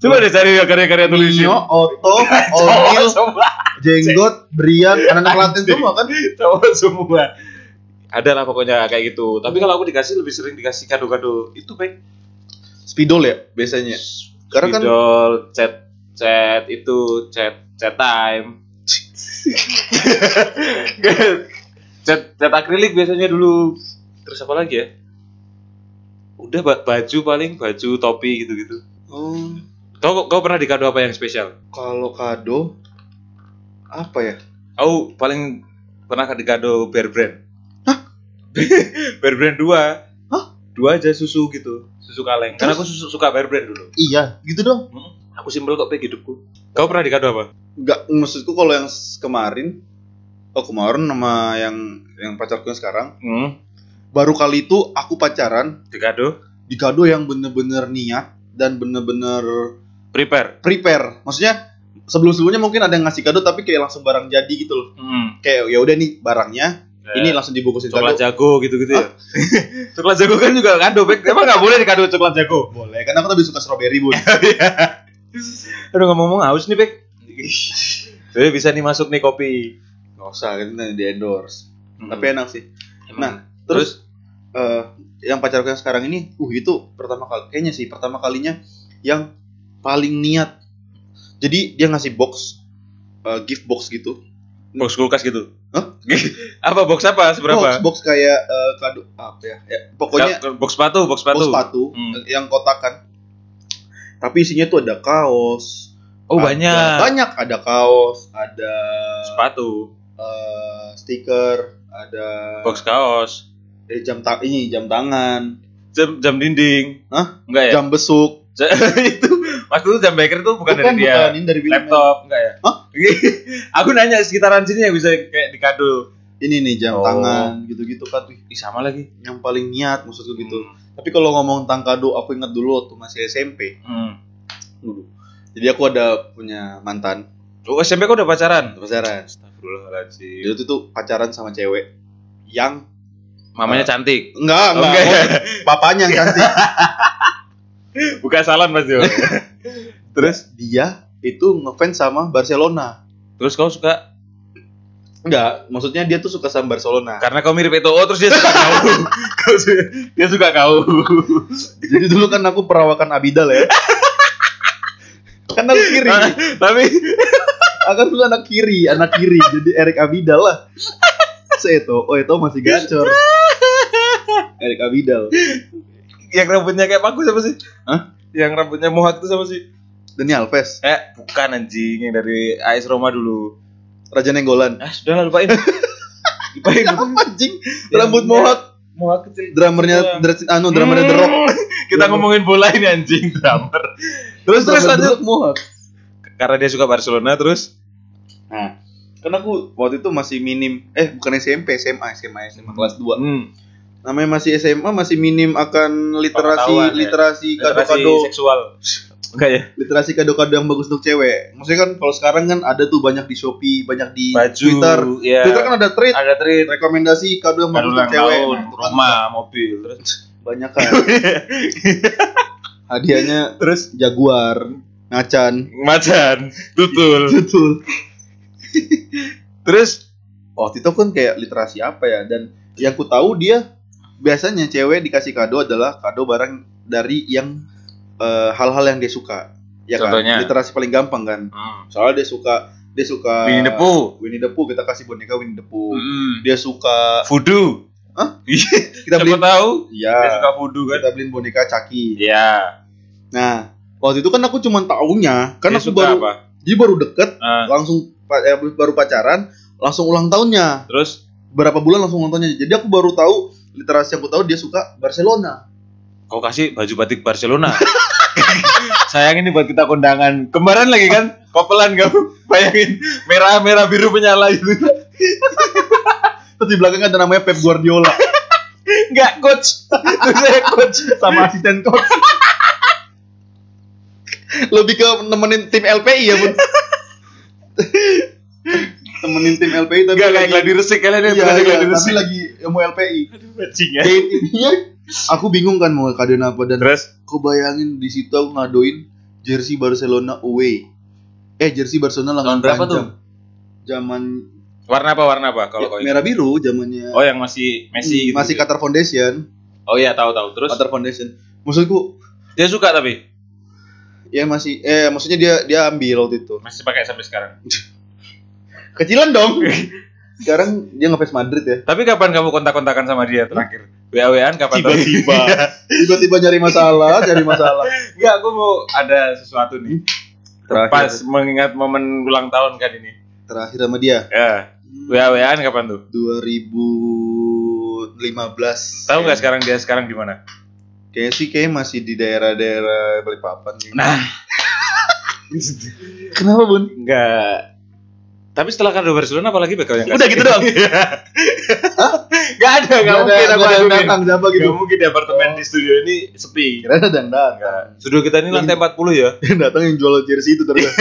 Speaker 2: coba deh cari ya karya-karya tulisin
Speaker 1: Nio, Oto,
Speaker 2: Cowok
Speaker 1: (laughs) Onil,
Speaker 2: semua.
Speaker 1: Jenggot, Brian, anak-anak Latin semua kan?
Speaker 2: cowok semua ada lah pokoknya kayak gitu tapi kalau aku dikasih lebih sering dikasih kado-kado itu baik
Speaker 1: Spidol ya
Speaker 2: Iya.
Speaker 1: biasanya. Karena kan
Speaker 2: spidol chat chat itu chat chat (laughs) time chat chat akrilik biasanya dulu terus apa lagi ya udah ba- baju paling baju topi gitu gitu
Speaker 1: Oh,
Speaker 2: kau kau pernah dikado apa yang spesial
Speaker 1: kalau kado apa ya?
Speaker 2: Aku paling pernah dikado Bear Brand. Hah? (laughs) Bear Brand 2.
Speaker 1: Hah?
Speaker 2: Dua aja susu gitu, susu kaleng. Karena aku susu, suka Bear Brand dulu.
Speaker 1: Iya, gitu dong.
Speaker 2: Aku simpel kok pek hidupku. Kau pernah dikado apa?
Speaker 1: Enggak, maksudku kalau yang s- kemarin Oh kemarin sama yang yang pacarku yang sekarang
Speaker 2: Hmm,
Speaker 1: baru kali itu aku pacaran
Speaker 2: dikado
Speaker 1: dikado yang bener-bener niat dan bener-bener
Speaker 2: prepare.
Speaker 1: prepare maksudnya sebelum sebelumnya mungkin ada yang ngasih kado tapi kayak langsung barang jadi gitu loh
Speaker 2: Hmm.
Speaker 1: kayak ya udah nih barangnya
Speaker 2: Iya.
Speaker 1: ini langsung dibungkusin
Speaker 2: coklat
Speaker 1: kado
Speaker 2: jago gitu-gitu ya. (laughs) coklat jago kan juga kado, Pek. Emang enggak boleh dikado coklat jago.
Speaker 1: boleh karena aku lebih suka strawberry bun
Speaker 2: Aduh ngomong-ngomong haus nih, Pek. Jadi bisa nih masuk nih kopi.
Speaker 1: nggak usah kan nanti di endorse tapi
Speaker 2: Tapi ya,
Speaker 1: enak sih
Speaker 2: nah,
Speaker 1: terus
Speaker 2: Hmm. terus,
Speaker 1: eh, yang pacarku yang sekarang ini uh itu pertama kali kayaknya sih pertama kalinya yang paling niat jadi dia ngasih box eh, gift box gitu
Speaker 2: box kulkas gitu.
Speaker 1: Hah?
Speaker 2: (laughs) apa box apa
Speaker 1: box
Speaker 2: seberapa?
Speaker 1: box kayak eh, kado apa ya, ya pokoknya
Speaker 2: box sepatu,
Speaker 1: box
Speaker 2: box sepatu.
Speaker 1: sepatu
Speaker 2: Hmm.
Speaker 1: eh, yang kotakan tapi isinya tuh ada kaos
Speaker 2: Oh
Speaker 1: ada-
Speaker 2: banyak.
Speaker 1: banyak ada kaos ada
Speaker 2: Sepatu,
Speaker 1: eh, stiker ada
Speaker 2: box kaos,
Speaker 1: eh, jam ta ini jam tangan,
Speaker 2: Jam jam dinding.
Speaker 1: Hah?
Speaker 2: Enggak ya?
Speaker 1: jam besuk.
Speaker 2: Ja- (laughs) itu Mas dulu jam baker itu bukan dari dia.
Speaker 1: bukan, ini dari Wilman.
Speaker 2: Laptop enggak ya?
Speaker 1: Hah?
Speaker 2: (laughs) Aku nanya sekitaran sini yang bisa kayak dikado.
Speaker 1: Ini nih jam
Speaker 2: Oh.
Speaker 1: tangan gitu-gitu kan wih,
Speaker 2: Ih, sama lagi.
Speaker 1: yang paling niat maksudku gitu.
Speaker 2: Hmm.
Speaker 1: Tapi kalau ngomong tentang kado, aku ingat dulu waktu masih SMP
Speaker 2: Hmm.
Speaker 1: dulu. Jadi aku ada punya mantan
Speaker 2: Oh, SMP kok udah pacaran?
Speaker 1: pacaran.
Speaker 2: Astagfirullahaladzim.
Speaker 1: Dia tuh tuh pacaran sama cewek yang
Speaker 2: Mamanya cantik.
Speaker 1: enggak
Speaker 2: Oh,
Speaker 1: enggak,
Speaker 2: enggak.
Speaker 1: oh, papanya yang (laughs) cantik.
Speaker 2: (laughs) Buka salon Mas Jo. terus
Speaker 1: Dia itu ngefans sama Barcelona.
Speaker 2: (laughs) terus kau suka
Speaker 1: Enggak, maksudnya dia tuh suka sama Barcelona. (laughs)
Speaker 2: karena kau mirip Eto'o terus dia (laughs) suka kau. Kau su- dia suka kau.
Speaker 1: Jadi dulu kan aku perawakan Abidal (laughs) ya. kan aku kiri,
Speaker 2: Tapi
Speaker 1: akan dulu anak kiri, anak kiri. Jadi Erik Abidal lah. Seto, oh itu masih gacor. Erik Abidal.
Speaker 2: yang rambutnya kayak paku siapa sih?
Speaker 1: Hah?
Speaker 2: Yang rambutnya mohak itu siapa sih?
Speaker 1: Dani Alves,
Speaker 2: Eh, bukan anjing yang dari AS Roma dulu.
Speaker 1: Raja Nenggolan.
Speaker 2: Ah, sudahlah (laughs) lupain. lupain.
Speaker 1: Apa anjing? Rambut mohak,
Speaker 2: Mohak kecil.
Speaker 1: drummernya dra- anu drummernya The Rock.
Speaker 2: Hmm. (laughs) Kita ngomongin bola ini anjing drummer. Terus
Speaker 1: Drummer
Speaker 2: terus
Speaker 1: The
Speaker 2: lanjut.
Speaker 1: Rock mohak.
Speaker 2: Karena dia suka Barcelona terus
Speaker 1: Nah, kan aku waktu itu masih minim, eh bukan SMP, SMA, SMA, SMA kelas 2.
Speaker 2: hmm,
Speaker 1: Namanya masih SMA masih minim akan
Speaker 2: Pengetahuan,
Speaker 1: literasi
Speaker 2: ya.
Speaker 1: literasi
Speaker 2: kado
Speaker 1: kado-kado
Speaker 2: seksual. Enggak ya?
Speaker 1: literasi kado-kado yang bagus untuk cewek. Maksudnya kan kalau sekarang kan ada tuh banyak di Shopee, banyak di
Speaker 2: Baju,
Speaker 1: Twitter.
Speaker 2: ya.
Speaker 1: Twitter kan ada thread
Speaker 2: ada treat
Speaker 1: rekomendasi kado yang bagus
Speaker 2: baru ulang
Speaker 1: untuk cewek.
Speaker 2: tahun,
Speaker 1: Nah, itu kan
Speaker 2: rumah, mobil, terus
Speaker 1: banyak
Speaker 2: (laughs)
Speaker 1: kan. Hadiahnya
Speaker 2: terus
Speaker 1: Jaguar, Macan.
Speaker 2: macan, tutul.
Speaker 1: Betul.
Speaker 2: Terus
Speaker 1: Waktu itu kan kayak literasi apa ya dan yang ku tahu dia biasanya cewek dikasih kado adalah kado barang dari yang eh, hal-hal yang dia suka. Ya kan?
Speaker 2: Contohnya?
Speaker 1: Literasi paling gampang kan.
Speaker 2: hmm.
Speaker 1: Soalnya dia suka dia suka
Speaker 2: Winnie the Pooh.
Speaker 1: Winnie the Pooh kita kasih boneka Winnie the Pooh.
Speaker 2: Hmm.
Speaker 1: Dia suka
Speaker 2: Voodoo.
Speaker 1: Hah?
Speaker 2: Iya,
Speaker 1: kita
Speaker 2: Siapa
Speaker 1: beliin
Speaker 2: tahu? Dia
Speaker 1: Iya.
Speaker 2: suka voodoo kan?
Speaker 1: Kita beliin boneka Chucky.
Speaker 2: Iya.
Speaker 1: Nah, waktu itu kan aku cuma taunya kan
Speaker 2: Dia
Speaker 1: aku
Speaker 2: suka
Speaker 1: baru
Speaker 2: apa?
Speaker 1: dia baru deket
Speaker 2: Ah,
Speaker 1: langsung pa- eh, baru pacaran langsung ulang tahunnya.
Speaker 2: terus
Speaker 1: Berapa bulan langsung ulang tahunnya. Jadi aku baru tahu literasi yang aku tahu dia suka Barcelona.
Speaker 2: kau kasih baju batik
Speaker 1: (laughs)
Speaker 2: Barcelona. Sayang ini buat kita kondangan. Kemarin lagi kan kopelan kamu (laughs) bayangin merah merah biru menyala gitu. (laughs)
Speaker 1: Terus di belakang ada namanya Pep Guardiola
Speaker 2: (laughs) Enggak coach. (laughs) Terus saya coach
Speaker 1: sama asisten coach. Lebih ke nemenin tim LPI ya,
Speaker 2: (laughs)
Speaker 1: Bun. temenin tim LPI tapi
Speaker 2: Enggak kayak
Speaker 1: lagi-
Speaker 2: gladi resik kalian yang
Speaker 1: Iya,
Speaker 2: pernah
Speaker 1: iya,
Speaker 2: gladi
Speaker 1: tapi
Speaker 2: resik.
Speaker 1: lagi mau LPI.
Speaker 2: Bajing ya.
Speaker 1: Dan intinya aku bingung kan mau kadoin apa dan
Speaker 2: Terus
Speaker 1: kau bayangin di situ aku ngadoin jersey Barcelona away. Eh jersey Barcelona lengan
Speaker 2: Tahun berapa
Speaker 1: panjang.
Speaker 2: tuh?
Speaker 1: Zaman
Speaker 2: warna apa warna apa kalau
Speaker 1: ya,
Speaker 2: kau ingat?
Speaker 1: merah biru zamannya. Hmm,
Speaker 2: Oh yang masih Messi gitu.
Speaker 1: masih
Speaker 2: gitu.
Speaker 1: Qatar Foundation,
Speaker 2: Oh iya tahu tahu. Terus
Speaker 1: Qatar Foundation. Maksudku
Speaker 2: dia suka tapi
Speaker 1: ya masih eh maksudnya dia dia ambil waktu itu.
Speaker 2: masih pakai sampai sekarang.
Speaker 1: Kecilan
Speaker 2: (laughs)
Speaker 1: dong. Sekarang dia ngefans Madrid ya.
Speaker 2: Tapi kapan kamu kontak-kontakan sama dia terakhir? WA-WAan kapan? terakhir? (laughs)
Speaker 1: Tiba-tiba nyari masalah, nyari masalah.
Speaker 2: Enggak, aku mau ada sesuatu nih.
Speaker 1: Terakhir.
Speaker 2: Pas mengingat momen ulang tahun kan ini.
Speaker 1: Terakhir sama dia.
Speaker 2: Ya, WA-WAan kapan tuh?
Speaker 1: 2015.
Speaker 2: Tahu nggak sekarang dia sekarang di mana?
Speaker 1: Kayaknya sih kayaknya masih di daerah-daerah Balikpapan sih.
Speaker 2: Nah,
Speaker 1: (laughs) kenapa bun?
Speaker 2: enggak. Tapi setelah kado Barcelona apalagi bakal yang
Speaker 1: Udah gitu doang.
Speaker 2: (laughs) Enggak ada,
Speaker 1: Nggak ada-
Speaker 2: enggak mungkin
Speaker 1: nggak
Speaker 2: aku
Speaker 1: ada yang
Speaker 2: aduin.
Speaker 1: datang siapa gitu.
Speaker 2: Enggak mungkin di apartemen di studio ini sepi.
Speaker 1: Kira ada yang datang.
Speaker 2: Enggak. Nah, Studio kita Ya. ini lantai 40 ya.
Speaker 1: Yang datang yang jual jersey itu ternyata.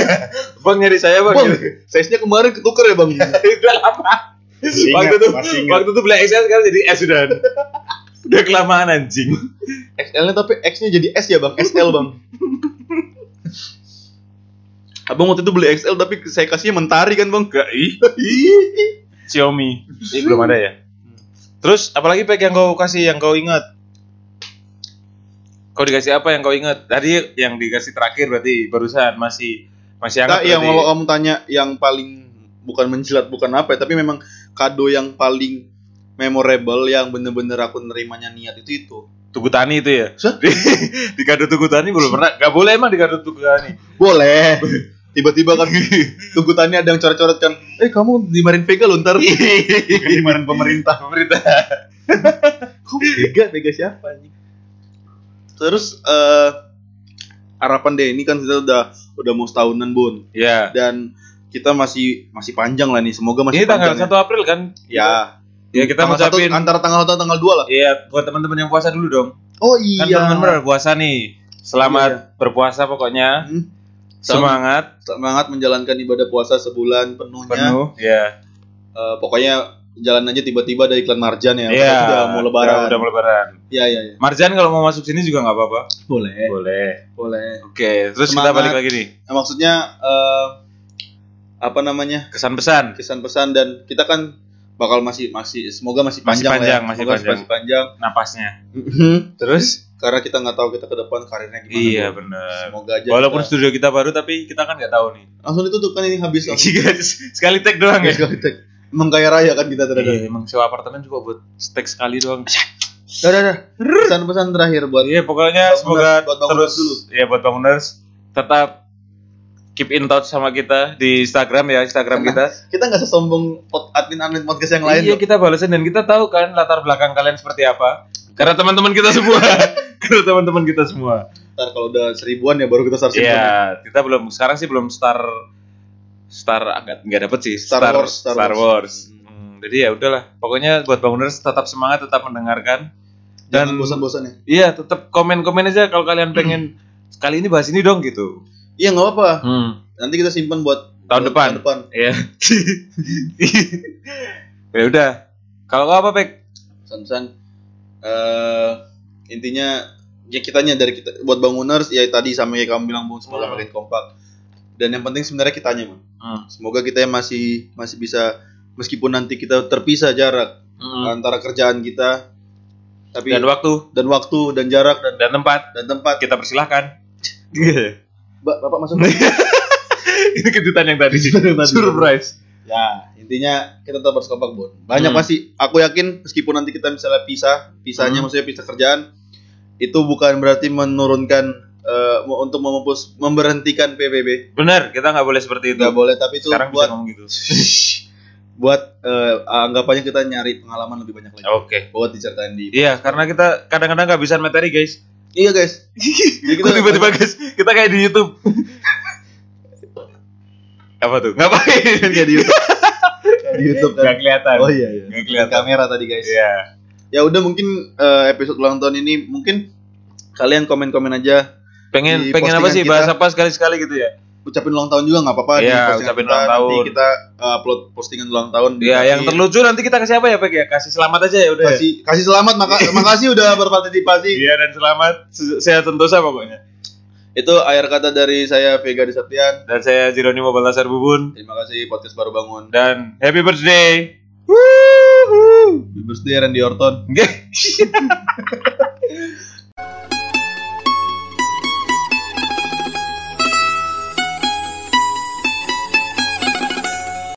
Speaker 2: Bang nyari saya, Bang. (laughs)
Speaker 1: bang, gitu. size-nya kemarin ketuker ya bang.
Speaker 2: udah lama.
Speaker 1: Masih
Speaker 2: waktu
Speaker 1: ingat,
Speaker 2: itu
Speaker 1: masih ingat.
Speaker 2: waktu itu beli XL sekarang jadi S udah. (laughs) udah kelamaan anjing.
Speaker 1: XL-nya tapi X-nya jadi S ya bang, SL bang. Abang waktu itu beli XL tapi saya kasihnya mentari kan bang.
Speaker 2: Enggak ih, Xiaomi. Ini belum ada ya. Terus apalagi pack yang kau kasih yang kau ingat? Kau dikasih apa yang kau ingat? Tadi yang dikasih terakhir berarti barusan masih masih
Speaker 1: Nah,
Speaker 2: hangat
Speaker 1: yang kalau
Speaker 2: berarti.
Speaker 1: kamu tanya yang paling bukan menjilat bukan apa ya, tapi memang kado yang paling memorable yang bener-bener aku nerimanya niat itu itu.
Speaker 2: Tugu Tani itu ya.
Speaker 1: Hah?
Speaker 2: Di, (laughs) di kado Tugu Tani belum pernah. Gak boleh emang di kado Tugu Tani.
Speaker 1: Boleh. Tiba-tiba kan tunggu tanya ada yang coret-coret kan. Eh kamu di Marin Vega loh ntar. Bukan di Marin Iya, pemerintah.
Speaker 2: Pemerintah.
Speaker 1: (laughs) Kok Vega? Vega siapa anjing? Terus eh harapan deh ini kan kita udah udah mau setahunan Bun
Speaker 2: Iya.
Speaker 1: dan kita masih masih panjang lah nih. Semoga masih
Speaker 2: Ini tanggal
Speaker 1: panjang.
Speaker 2: 1 April kan?
Speaker 1: Ya.
Speaker 2: Ya, kita
Speaker 1: tanggal satu-
Speaker 2: ngucapin-
Speaker 1: antara tanggal 1 tanggal 2 lah.
Speaker 2: Iya, buat teman-teman yang puasa dulu dong.
Speaker 1: Oh
Speaker 2: Kan
Speaker 1: iya.
Speaker 2: teman-teman berpuasa nih. Selamat
Speaker 1: Iya. Ya.
Speaker 2: berpuasa pokoknya.
Speaker 1: Hmm,
Speaker 2: Semangat
Speaker 1: Semangat menjalankan ibadah puasa sebulan penuhnya.
Speaker 2: penuh. Iya.
Speaker 1: Eh, pokoknya jalan aja tiba-tiba ada iklan Marjan ya.
Speaker 2: Iya.
Speaker 1: Padahal Udah mau
Speaker 2: Udah, udah
Speaker 1: lebaran.
Speaker 2: mau lebaran.
Speaker 1: Iya iya iya.
Speaker 2: Marjan kalau mau masuk sini juga nggak apa-apa.
Speaker 1: Boleh.
Speaker 2: Boleh.
Speaker 1: Boleh.
Speaker 2: Oke, terus
Speaker 1: Eh. Semangat.
Speaker 2: kita balik lagi nih.
Speaker 1: Nah, maksudnya eh, apa namanya?
Speaker 2: Kesan pesan.
Speaker 1: kesan pesan dan kita kan bakal masih masih semoga masih
Speaker 2: Masih
Speaker 1: panjang, lah
Speaker 2: panjang,
Speaker 1: ya.
Speaker 2: masih
Speaker 1: Semoga
Speaker 2: panjang.
Speaker 1: panjang.
Speaker 2: napasnya. Terus?
Speaker 1: Karena kita nggak tahu kita ke depan karirnya gimana.
Speaker 2: Iya
Speaker 1: Bro.
Speaker 2: benar.
Speaker 1: Semoga aja.
Speaker 2: Walaupun
Speaker 1: kita-
Speaker 2: studio kita baru tapi kita kan nggak tahu nih.
Speaker 1: langsung ditutup kan ini habis
Speaker 2: (laughs)
Speaker 1: langsung.
Speaker 2: Jika sekali tag doang ya.
Speaker 1: Sekali tek. Emang kaya raya kan kita tadi.
Speaker 2: Iya, emang sewa apartemen juga buat tag sekali doang.
Speaker 1: Dah dah dah. Pesan-pesan terakhir buat
Speaker 2: Iya, pokoknya
Speaker 1: Banguners,
Speaker 2: semoga
Speaker 1: buat banguners
Speaker 2: terus
Speaker 1: dulu.
Speaker 2: ya buat banguners tetap keep in touch sama kita di Instagram ya, Instagram
Speaker 1: Tenang.
Speaker 2: kita.
Speaker 1: kita nggak sesombong pod admin admin podcast yang lain.
Speaker 2: iya,
Speaker 1: loh.
Speaker 2: kita balasan dan kita tahu kan latar belakang kalian seperti apa. Karena teman-teman kita
Speaker 1: (laughs)
Speaker 2: semua. Karena teman-teman kita semua.
Speaker 1: Ntar kalau udah seribuan ya baru kita start
Speaker 2: Iya,
Speaker 1: seribuan.
Speaker 2: kita belum sekarang sih belum star star agak nggak dapet sih
Speaker 1: Star Wars, Star
Speaker 2: Star, Wars. Hmm, jadi ya udahlah, pokoknya buat banguners tetap semangat, tetap mendengarkan
Speaker 1: Jangan
Speaker 2: dan
Speaker 1: bosan-bosan ya.
Speaker 2: iya tetap komen-komen aja kalau kalian
Speaker 1: (clears throat)
Speaker 2: pengen kali ini bahas ini dong gitu.
Speaker 1: Iya nggak apa-apa.
Speaker 2: Hmm.
Speaker 1: Nanti kita simpan buat
Speaker 2: Tahun
Speaker 1: buat
Speaker 2: depan.
Speaker 1: Tahun depan. (laughs)
Speaker 2: Iya. ya udah. Kalau nggak apa Pek?
Speaker 1: pesan-pesan eh intinya ya kitanya dari kita buat banguners ya tadi sama kayak kamu bilang bung semoga
Speaker 2: Hmm.
Speaker 1: makin kompak dan yang penting sebenarnya kitanya Bang.
Speaker 2: Hmm.
Speaker 1: semoga kita yang masih masih bisa meskipun nanti kita terpisah jarak antara kerjaan kita tapi
Speaker 2: Hmm. Dan
Speaker 1: dan,
Speaker 2: waktu
Speaker 1: waktu dan jarak dan
Speaker 2: dan tempat
Speaker 1: dan tempat
Speaker 2: kita
Speaker 1: (laughs)
Speaker 2: persilahkan.
Speaker 1: Ba- bapak masuk
Speaker 2: Ini kejutan yang tadi.
Speaker 1: Kejutan yang tadi.
Speaker 2: Surprise.
Speaker 1: ya intinya kita tetap harus kompak bun banyak
Speaker 2: Hmm.
Speaker 1: pasti aku yakin meskipun nanti kita misalnya pisah pisahnya
Speaker 2: Hmm.
Speaker 1: maksudnya pisah kerjaan itu bukan berarti menurunkan eh, mau- untuk memupus memberhentikan PBB
Speaker 2: Bener, kita nggak boleh seperti itu.
Speaker 1: nggak boleh tapi itu
Speaker 2: Sekarang
Speaker 1: buat
Speaker 2: bisa ngomong gitu.
Speaker 1: (laughs) buat eh, anggapannya kita nyari pengalaman lebih banyak lagi
Speaker 2: Oke.
Speaker 1: buat diceritain di
Speaker 2: Iya, karena kita kadang-kadang kehabisan materi, guys.
Speaker 1: iya guys
Speaker 2: (laughs)
Speaker 1: Jadi
Speaker 2: Kita tiba-tiba, guys, kita kayak di
Speaker 1: (laughs)
Speaker 2: YouTube. Apa tuh? Ngapain?
Speaker 1: kayak di YouTube kayak (laughs) di YouTube kan
Speaker 2: Gak kelihatan.
Speaker 1: oh iya iya
Speaker 2: Nggak kelihatan.
Speaker 1: kamera tadi guys
Speaker 2: Iya.
Speaker 1: ya udah mungkin eh, episode ulang tahun ini mungkin kalian komen-komen aja Di
Speaker 2: Pengen pengen apa
Speaker 1: postingan
Speaker 2: sih
Speaker 1: kita.
Speaker 2: bahas apa sekali-sekali gitu ya?
Speaker 1: ucapin ulang tahun juga nggak apa-apa
Speaker 2: Iya,
Speaker 1: postingan
Speaker 2: ucapin
Speaker 1: kita.
Speaker 2: ulang
Speaker 1: nanti
Speaker 2: tahun.
Speaker 1: kita uh, upload postingan ulang tahun
Speaker 2: Iya,
Speaker 1: Kasih-
Speaker 2: yang terlucu nanti kita kasih apa ya, Pak ya? Kasih selamat aja ya udah. ya?
Speaker 1: kasih kasih selamat
Speaker 2: (laughs)
Speaker 1: maka- makasih udah berpartisipasi
Speaker 2: Iya dan selamat se- sehat sentosa pokoknya.
Speaker 1: itu akhir kata dari saya Vega Disaptian
Speaker 2: Dan saya Jeronimo Baltasar Bubun
Speaker 1: terima kasih podcast baru bangun
Speaker 2: dan happy birthday.
Speaker 1: Happy birthday Randy Orton
Speaker 2: Wuhu.